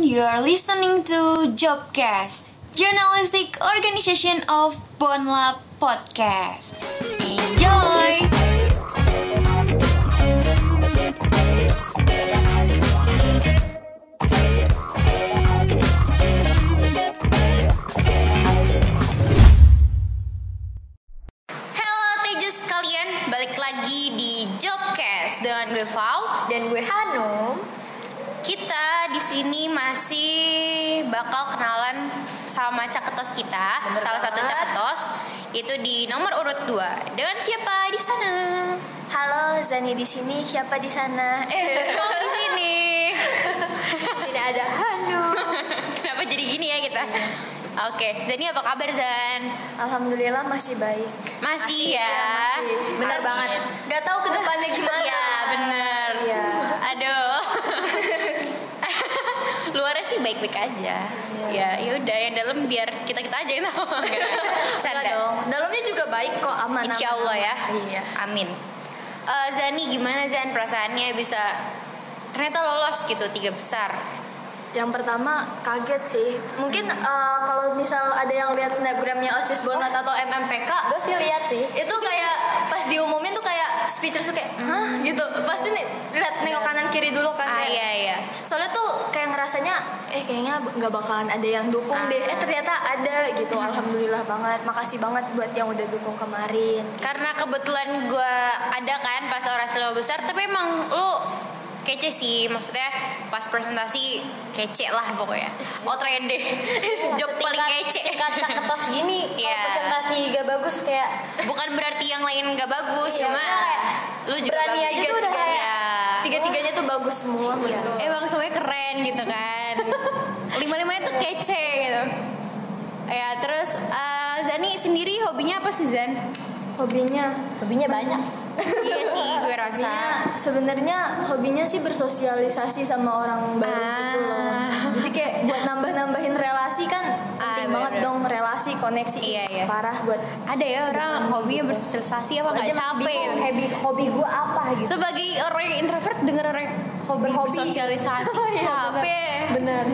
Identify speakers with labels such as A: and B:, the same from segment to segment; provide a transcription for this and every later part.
A: You are listening to Jobcast, journalistic organization of Bonlab Podcast. Enjoy! Halo Tejas kalian, balik lagi di Jobcast dengan gue Val
B: dan gue Hanum
A: Kita di sini masih bakal kenalan sama caketos kita,
B: Bener
A: salah satu
B: banget.
A: caketos itu di nomor urut 2. Dengan siapa di sana?
B: halo Zani di sini siapa di sana eh
A: Kalau di sini.
B: di sini ada Hanum
A: Kenapa jadi gini ya kita? Oke, Zani apa kabar Zan?
B: alhamdulillah masih baik
A: Masih, ya.
B: masih Iya, benar
A: Amin.
B: banget nggak tahu kedepannya gimana
A: Iya, bener.
B: Iya.
A: Aduh. Luarnya sih baik-baik aja. Ya, yaudah yang dalam biar kita-kita aja yang tahu.
B: Iya. Enggak
A: Canda.
B: dong dalamnya juga baik kok aman
A: Insya
B: aman,
A: Allah ya.
B: aman. iya
A: Amin. Eh, Zani gimana Zan perasaannya bisa ternyata lolos gitu tiga besar.
B: yang pertama kaget sih mungkin eh, kalau misal ada yang lihat snapgramnya osis bonat atau mmpk gue sih lihat sih itu kayak pas diumumin tuh kayak speechers tuh kayak hah gitu pasti nih lihat nengok kanan kiri dulu kan
A: Ah
B: kayak-
A: iya iya.
B: soalnya tuh kayak ngerasanya eh kayaknya b- nggak bakalan ada yang dukung
A: Ah.
B: deh eh ternyata ada gitu alhamdulillah banget makasih banget buat yang udah dukung kemarin
A: Karena kebetulan gue ada kan pas orasi lima besar, tapi emang lu kece sih maksudnya pas presentasi kece lah pokoknya. Outran deh.
C: Iya,
A: Job paling kece.
C: kata ketos gini kalau
A: Iya.
C: presentasi gak bagus kayak
A: Bukan berarti yang lain gak bagus,
C: Iya,
A: cuma
C: kayak
A: lu juga
C: berani
B: ya,
A: bagus.
C: aja tuh udah kayak
A: Iya.
B: tiga tiganya tuh bagus semua gitu.
A: Iya.
B: menurut gue.
A: Emang semuanya keren gitu kan. Lima limanya tuh kece gitu. Ya terus eh, Zani sendiri hobinya apa sih Zan?
B: hobinya
C: hobinya banyak
A: iya sih gue rasa.
B: hobinya sebenarnya hobinya sih bersosialisasi sama orang baru gitu loh
A: Ah.
B: jadi kayak buat nambah nambahin relasi kan
A: Ah,
B: penting
A: bener.
B: banget dong relasi koneksi
A: Iya, iya.
B: parah buat
A: Ada ya orang hobinya bersosialisasi apa nggak
C: Aja masih
A: capek? gitu.
C: bingung, hobi hobi gue apa gitu
A: Sebagai orang yang introvert dengan orang yang hobi
B: Iya,
C: Berhobi.
A: bersosialisasi
B: Oh,
A: capek.
C: bener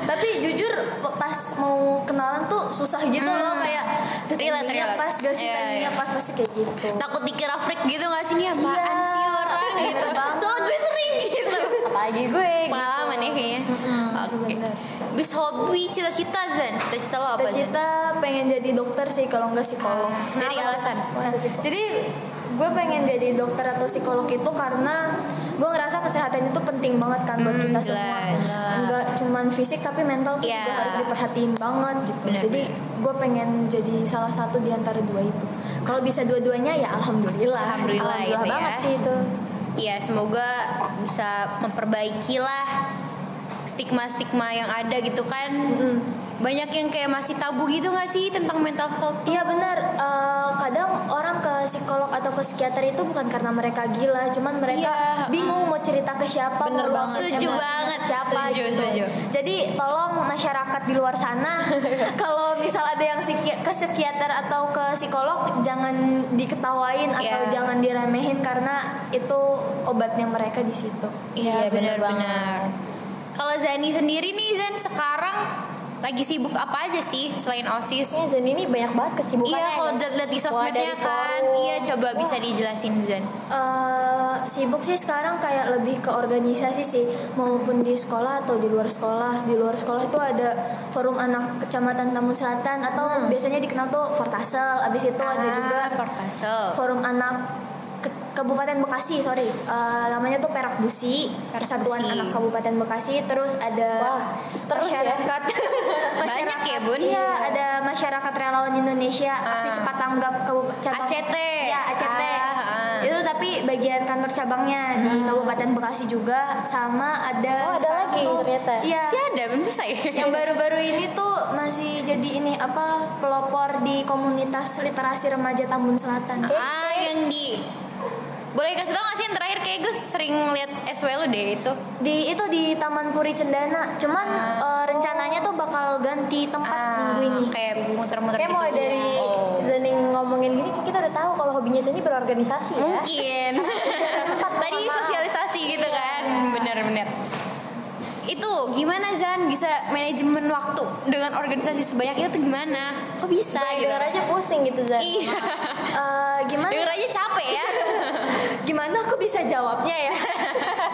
B: tapi jujur pe- pas mau kenalan tuh susah gitu loh
A: Hmm.
B: kayak
A: Relate,
B: timingnya
A: relate.
B: pas gak sih
A: Iya,
B: timingnya
A: iya.
B: pas pasti kayak gitu
A: Takut dikira freak gitu gak sih nih apaan
B: Iya,
A: sih orang
B: bener
A: gitu.
B: banget.
A: Soalnya gue sering gitu.
C: apalagi gue
A: Pengalaman ya kayaknya. Oke. Bis hobi cita-cita Zan. Cita-cita lo apa? Zan?
B: cita pengen jadi dokter sih kalau nggak psikolog Nah,
A: Dari alasan.
B: jadi gue pengen jadi dokter atau psikolog itu karena gue ngerasa kesehatan itu penting banget kan buat
A: Hmm,
B: kita
A: jelas.
B: semua nggak cuman fisik tapi mental tuh
A: Iya.
B: juga harus diperhatiin banget gitu
A: Bener,
B: jadi gue pengen jadi salah satu di antara dua itu kalau bisa dua-duanya ya alhamdulillah
A: Alhamdulillah gitu ya.
B: banget sih itu
A: Iya semoga bisa memperbaiki lah stigma-stigma yang ada gitu kan.
B: Mm.
A: Banyak yang kayak masih tabu gitu gak sih tentang mental health?
B: Iya benar. Eh, kadang orang ke psikolog atau ke psikiater itu bukan karena mereka gila, cuman mereka
A: Iya.
B: bingung mau cerita ke siapa,
C: Bener
B: mau luangin
C: banget.
A: Setuju
B: emosinya
A: banget,
B: ke siapa
A: setuju,
B: gitu.
A: setuju.
B: Jadi tolong masyarakat di luar sana, kalau misal ada yang psiki- ke psikiater atau ke psikolog, jangan diketawain atau
A: Iya.
B: jangan diremehin karena itu obatnya mereka di situ.
C: Iya, benar
A: benar-benar. Kalau Zani sendiri nih Zan sekarang lagi sibuk apa aja sih selain osis?
B: Iya,
C: Kayaknya Zen Iya, ini banyak banget ya. kesibukan
A: Iya kalau lihat di sosmednya kan, iya coba bisa dijelasin Zan.
B: eh sibuk sih sekarang kayak lebih ke organisasi sih maupun di sekolah atau di luar sekolah di luar sekolah tuh ada forum anak kecamatan Taman Selatan atau biasanya dikenal tuh Fortasel abis itu ada juga
A: Ah, Fortasel.
B: forum anak ke- Kabupaten Bekasi sorry Eh, namanya tuh Perak Busi
A: Perak
B: Persatuan
A: Busi.
B: Anak Kabupaten Bekasi terus ada
C: Wah, terus ya.
B: masyarakat
A: Banyak ya, Bun?
B: iya ada masyarakat relawan Indonesia aksi
A: Ah.
B: cepat tanggap Kabupaten
A: ACT.
B: ya ACT
A: Ah, ah.
B: itu tapi bagian kantor cabangnya di Kabupaten Bekasi juga sama ada
C: Hmm. Oh, ada
B: sekarang
C: lagi ternyata.
B: iya
A: Si ada belum selesai.
B: yang baru-baru ini tuh masih jadi ini apa pelopor di komunitas literasi remaja Tambun Selatan
A: ah yang di boleh kasih tau gak sih yang terakhir kayak gue sering lihat SW lu deh itu
B: di itu di Taman Puri Cendana cuman
C: Ah.
B: eh, rencananya tuh bakal ganti tempat minggu ini
A: kayak muter-muter
C: kayak
A: gitu
C: mulai dari
A: Oh.
C: Zening ngomongin gini kayak kita udah tahu kalau hobinya Zen ini berorganisasi
A: Hmm,
C: ya
A: iya. mungkin tadi sosialisasi gitu kan bener-bener itu itu gimana Zan bisa manajemen waktu dengan organisasi sebanyak itu gimana? Kok bisa
C: Kayak
A: gitu?
C: denger aja pusing gitu Zan.
A: Iya.
B: Eh, gimana
A: Denger aja capek ya.
B: gimana aku bisa jawabnya ya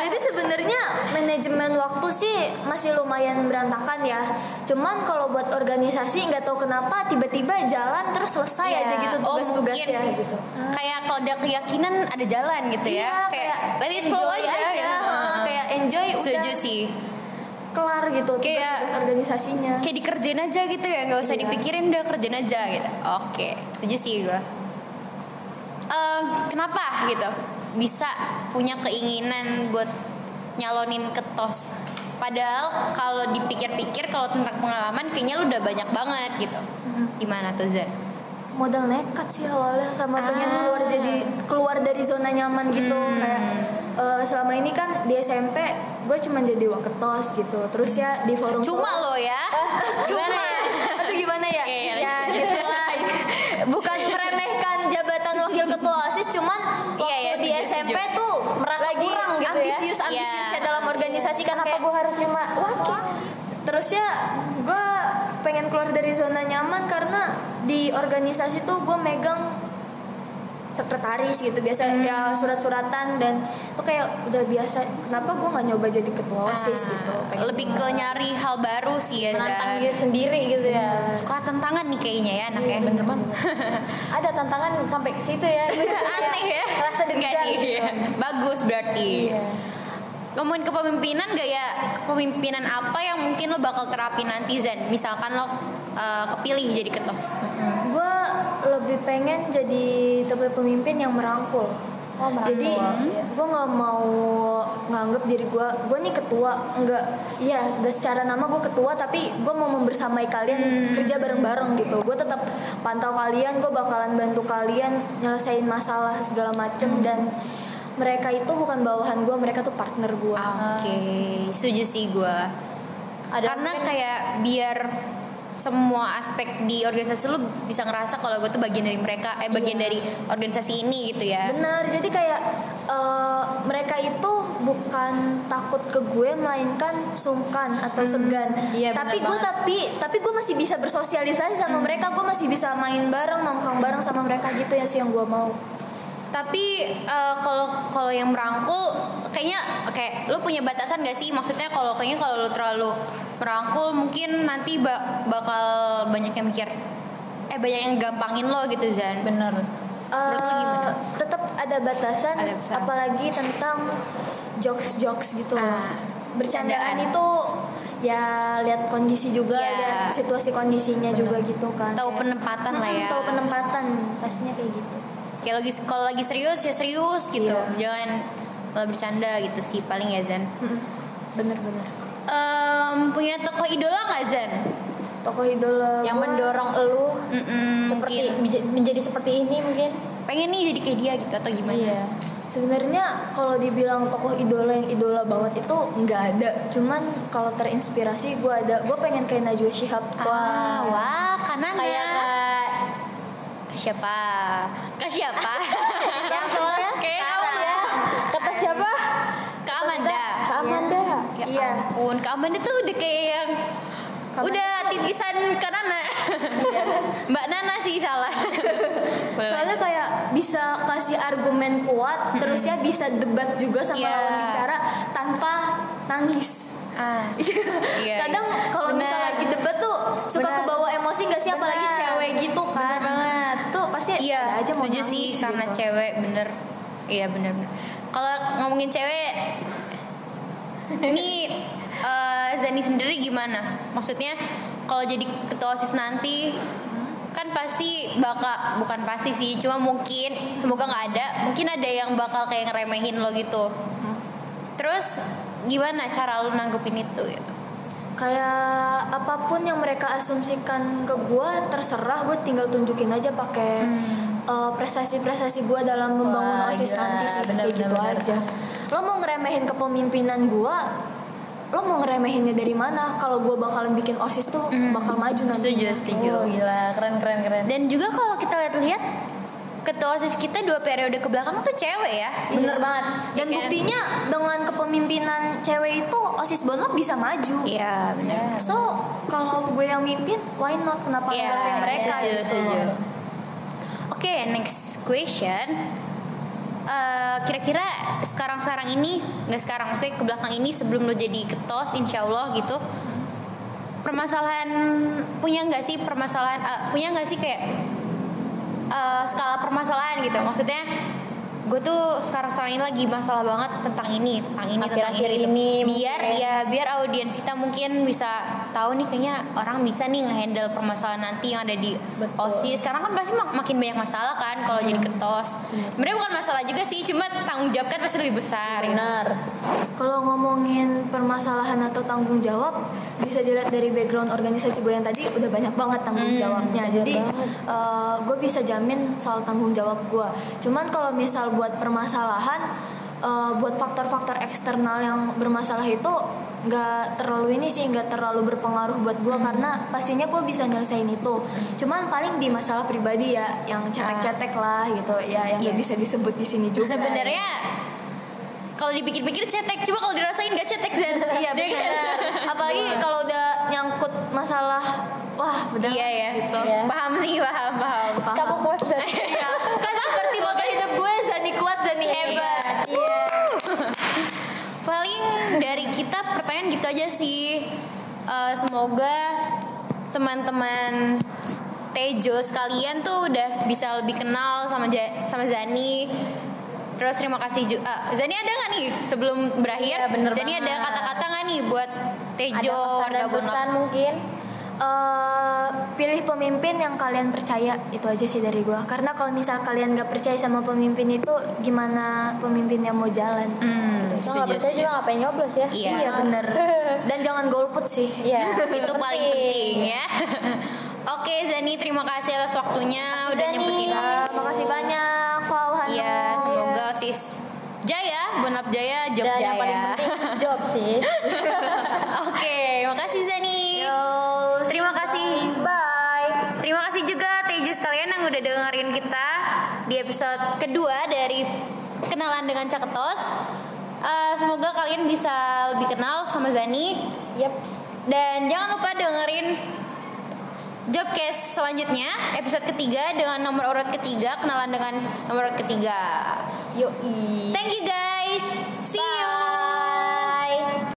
B: jadi sebenarnya manajemen waktu sih masih lumayan berantakan ya cuman kalau buat organisasi nggak tahu kenapa tiba-tiba jalan terus selesai
A: Iya.
B: aja gitu
A: Oh,
B: tugas-tugasnya
A: mungkin.
B: gitu
A: kayak kalau ada keyakinan ada jalan gitu ya.
B: Iya, kayak,
A: let it flow
B: enjoy
A: aja.
B: aja,
A: gitu.
B: ha, kayak enjoy
A: Setuju
B: udah
A: sih.
B: kelar gitu
A: Kayak-
B: tugas-tugas organisasinya
A: Kayak dikerjain aja gitu ya, nggak usah
B: Iya.
A: dipikirin udah kerjain aja gitu. Oke, setuju sih gue. Eh, kenapa gitu bisa punya keinginan buat nyalonin ke tos? Padahal kalau dipikir-pikir kalau tentang pengalaman kayaknya lu udah banyak banget gitu. Gimana tuh Zen?
B: modal nekat sih awalnya sama pengen
A: Ah.
B: keluar jadi keluar dari zona nyaman gitu
A: Hmm.
B: kayak eh, selama ini kan di SMP gue cuma jadi waketos gitu terus ya di forum
A: Cuma lo ya.
B: Gimana
A: Cuma.
B: ya? Atau gimana ya?
A: Iya, iya.
B: ya gitu lah. Bukan meremehkan jabatan wakil ketua OSIS cuman waktu
A: Iya, iya,
B: di
A: setuju,
B: SMP
A: setuju.
B: tuh
C: Merasa
B: lagi
C: kurang gitu ya.
B: ambisius ambisiusnya
A: Iya.
B: dalam organisasi kan
C: Kenapa gue harus cuma wakil?
B: Terus ya gue pengen keluar dari zona nyaman karena di organisasi tuh gue megang sekretaris gitu biasa
A: Hmm.
B: ya surat-suratan dan itu kayak udah biasa kenapa gue nggak nyoba jadi ketua osis gitu pengen
A: Ah, Lebih ke nyari hal baru sih ya
C: Menantang
A: Zan.
C: diri sendiri gitu ya.
A: Suka tantangan nih kayaknya ya anak ya.
C: Bener banget. Ada tantangan sampai ke situ ya.
A: Aneh ya.
C: Rasa
A: Nggak
C: deg-degan.
A: sih. iya.
C: gitu.
A: Bagus berarti.
C: Iya.
A: ngomongin kepemimpinan gak ya kepemimpinan apa yang mungkin lo bakal terapin nanti Zen misalkan lo uh, kepilih jadi ketos
B: gue lebih pengen jadi tipe pemimpin yang merangkul
C: Oh, merangkul.
B: jadi
C: Iya.
B: gue nggak mau nganggep diri gue gue nih ketua nggak iya nggak secara nama gue ketua tapi gue mau membersamai
C: Hmm.
B: kalian kerja bareng bareng gitu gue tetap pantau kalian gue bakalan bantu kalian nyelesain masalah segala macem
C: Hmm.
B: dan mereka itu bukan bawahan gue mereka tuh partner gue
A: oke setuju sih gue
C: Ada
A: karena
C: mungkin-
A: kayak biar semua aspek di organisasi lo bisa ngerasa kalau gue tuh bagian dari mereka eh
C: Iya.
A: bagian dari organisasi ini gitu ya
B: Benar, jadi kayak eh, mereka itu bukan takut ke gue melainkan sungkan atau
A: Hmm,
B: segan.
C: iya, benar
B: tapi gue
C: banget.
B: tapi tapi gue masih bisa bersosialisasi
A: Hmm.
B: sama mereka, gue masih bisa main bareng, nongkrong bareng sama mereka gitu ya sih yang gue mau.
A: tapi eh, kalau kalau yang merangkul kayaknya kayak lo punya batasan gak sih maksudnya kalau kayaknya kalau lo terlalu merangkul mungkin nanti ba- bakal banyak yang mikir eh banyak yang gampangin lo gitu Zan
C: Bener.
A: Menurut lo gimana?
B: Tetap Eh, ada batasan,
A: Ada batasan.
B: apalagi tentang jokes-jokes gitu.
A: Ah,
B: Bercandaan
A: bercandaan.
B: itu ya lihat kondisi juga,
A: Iya.
B: lihat situasi kondisinya juga gitu kan.
A: tahu penempatan lah ya
B: Tahu penempatan, pastinya kayak gitu.
A: kayak lagi kalau lagi serius ya serius gitu
B: Iya.
A: jangan malah bercanda gitu sih paling ya Zan
B: Bener-bener.
A: Em, punya tokoh idola nggak Zan
B: Tokoh idola
C: Yang
B: gua-
C: mendorong elu
A: Mm-mm,
C: seperti
A: mungkin
C: menja- menjadi seperti ini mungkin.
A: pengen nih jadi kayak dia gitu atau gimana
C: Iya.
B: Sebenarnya kalau dibilang tokoh idola yang idola banget itu nggak ada. Cuman kalau terinspirasi gue ada. Gue pengen kayak Najwa Shihab.
A: Ah, Wah, wah, kanana.
C: Kayak Kak
A: Ke siapa? Ke siapa?
B: Yang
A: Kayak
B: kelas sekarang
A: kamu.
B: ya. Kata siapa?
A: Ke Amanda.
C: Kak Amanda.
A: Ya
B: Iya.
A: ampun, Ke Amanda tuh udah kayak yang
B: Amanda Iya.
A: udah titisan ke Nana. Mbak Nana sih salah.
B: Soalnya kayak bisa kasih argumen kuat, terus ya bisa debat juga sama
A: Iya.
B: lawan bicara tanpa nangis.
A: ah. Iya,
B: Kadang kalau
C: Benar.
B: misalnya lagi debat tuh suka
C: Benar.
B: kebawa emosi gak sih apalagi
C: Benar.
B: cewek gitu kan.
C: banget.
B: Tuh pasti
A: Iya,
B: ada aja mau
A: setuju
B: nangis
A: sih karena
B: gitu.
A: cewek bener. Iya bener bener. Kalau ngomongin cewek, ini eh, Zani sendiri gimana? Maksudnya kalau jadi ketua osis nanti kan pasti bakal bukan pasti sih cuma mungkin semoga nggak ada mungkin ada yang bakal kayak ngeremehin lo gitu terus gimana cara lo nanggepin itu gitu?
B: kayak apapun yang mereka asumsikan ke gue terserah gue tinggal tunjukin aja pakai eh, prestasi-prestasi gue dalam membangun
C: Hmm. Wah,
B: osis
C: gila.
B: nanti sih
C: Benar,
B: kayak
C: benar,
B: gitu
C: benar.
B: aja lo mau ngeremehin kepemimpinan gue lo mau ngeremehinnya dari mana kalau gue bakalan bikin osis tuh
C: Hmm.
B: bakal maju nanti
A: Setuju, setuju.
C: Oh, gila, keren keren keren.
A: dan juga kalau kita lihat-lihat ketua osis kita dua periode ke belakang tuh cewek ya
B: Bener banget.
A: Iya
B: Dan
A: kan?
B: buktinya dengan kepemimpinan cewek itu OSIS Bonlab bisa maju.
A: iya benar
B: So, kalau gue yang mimpin, why not? Kenapa
A: Iya,
B: enggak kayak mereka
A: setuju,
B: gitu?
A: setuju. Oke, next question. Eh, kira-kira sekarang-sekarang ini nggak sekarang maksudnya ke belakang ini sebelum lo jadi ketos insya Allah gitu permasalahan punya nggak sih permasalahan eh, punya nggak sih kayak eh, skala permasalahan gitu maksudnya gue tuh sekarang sekarang ini lagi masalah banget tentang ini tentang ini
C: Akhir-akhir
A: tentang
C: ini
A: gitu. biar
C: mungkin.
A: ya biar audiens kita mungkin bisa tahu nih kayaknya orang bisa nih ngehandle permasalahan nanti yang ada di
C: Betul.
A: osis karena kan pasti mak- makin banyak masalah kan kalau jadi
B: Iya.
A: ketos sebenarnya bukan masalah juga sih cuma tanggung jawab kan pasti lebih besar gitu.
C: Benar.
B: Kalau ngomongin permasalahan atau tanggung jawab, bisa dilihat dari background organisasi gue yang tadi udah banyak banget tanggung
A: Hmm,
B: jawabnya.
C: bener
B: Jadi
C: banget.
B: eh, gue bisa jamin soal tanggung jawab gue. Cuman kalau misal buat permasalahan, eh, buat faktor-faktor eksternal yang bermasalah itu nggak terlalu ini sih nggak terlalu berpengaruh buat gue karena pastinya gue bisa nyelesain itu. Cuman paling di masalah pribadi ya yang cetek-cetek lah gitu ya yang nggak
A: Iya.
B: bisa disebut di sini juga. ya.
A: sebenarnya kalau dipikir-pikir cetek cuma kalau dirasain nggak cetek Zen
B: Iya
A: Dia kan-
B: benar. Apalagi kalau udah nyangkut masalah wah benar
A: iya ya
B: gitu.
C: Iya.
A: paham sih paham paham
B: Paham.
C: Kamu kuat Zan.
B: Iya. Kan seperti motto hidup gue Zani kuat Zani hebat.
C: Iya.
A: paling dari kita pertanyaan gitu aja sih Eh, semoga teman-teman Tejo sekalian tuh udah bisa lebih kenal sama Ja- sama Zani terus terima kasih juga Zani ada nggak nih sebelum berakhir
C: Iya, bener
A: Zani ada
C: banget.
A: kata-kata nggak nih buat
C: Ada
A: Tejo
C: pesan
A: warga
C: dan pesan mungkin.
B: Eh, pilih pemimpin yang kalian percaya itu aja sih dari gue. Karena kalau misal kalian gak percaya sama pemimpin itu gimana pemimpinnya mau jalan? Gitu.
A: hmm,
C: Lo nggak percaya juga ngapain nyoblos ya?
A: Iya.
B: Iya bener. Dan jangan golput sih.
C: Iya.
A: itu paling penting ya oke Zani terima kasih atas waktunya udah
C: Zani.
A: nyempetin
B: Iya,
A: waktu
B: makasih banyak. Wow, Hanu.
A: Iya, semoga sis Jaya, Bonap Jaya, ya. Job
C: Dan yang paling
A: Jaya.
C: penting job sih.
A: Oke, makasih Zani.
B: Yo,
A: Terima kasih. Bye. Terima kasih juga Teju sekalian yang udah dengerin kita di episode kedua dari kenalan dengan Caketos. Eh, semoga kalian bisa lebih kenal sama Zani
C: Yep.
A: dan jangan lupa dengerin Jobcast selanjutnya episode ketiga dengan nomor urut ketiga kenalan dengan nomor urut ketiga.
C: Yoi.
A: Thank you guys. See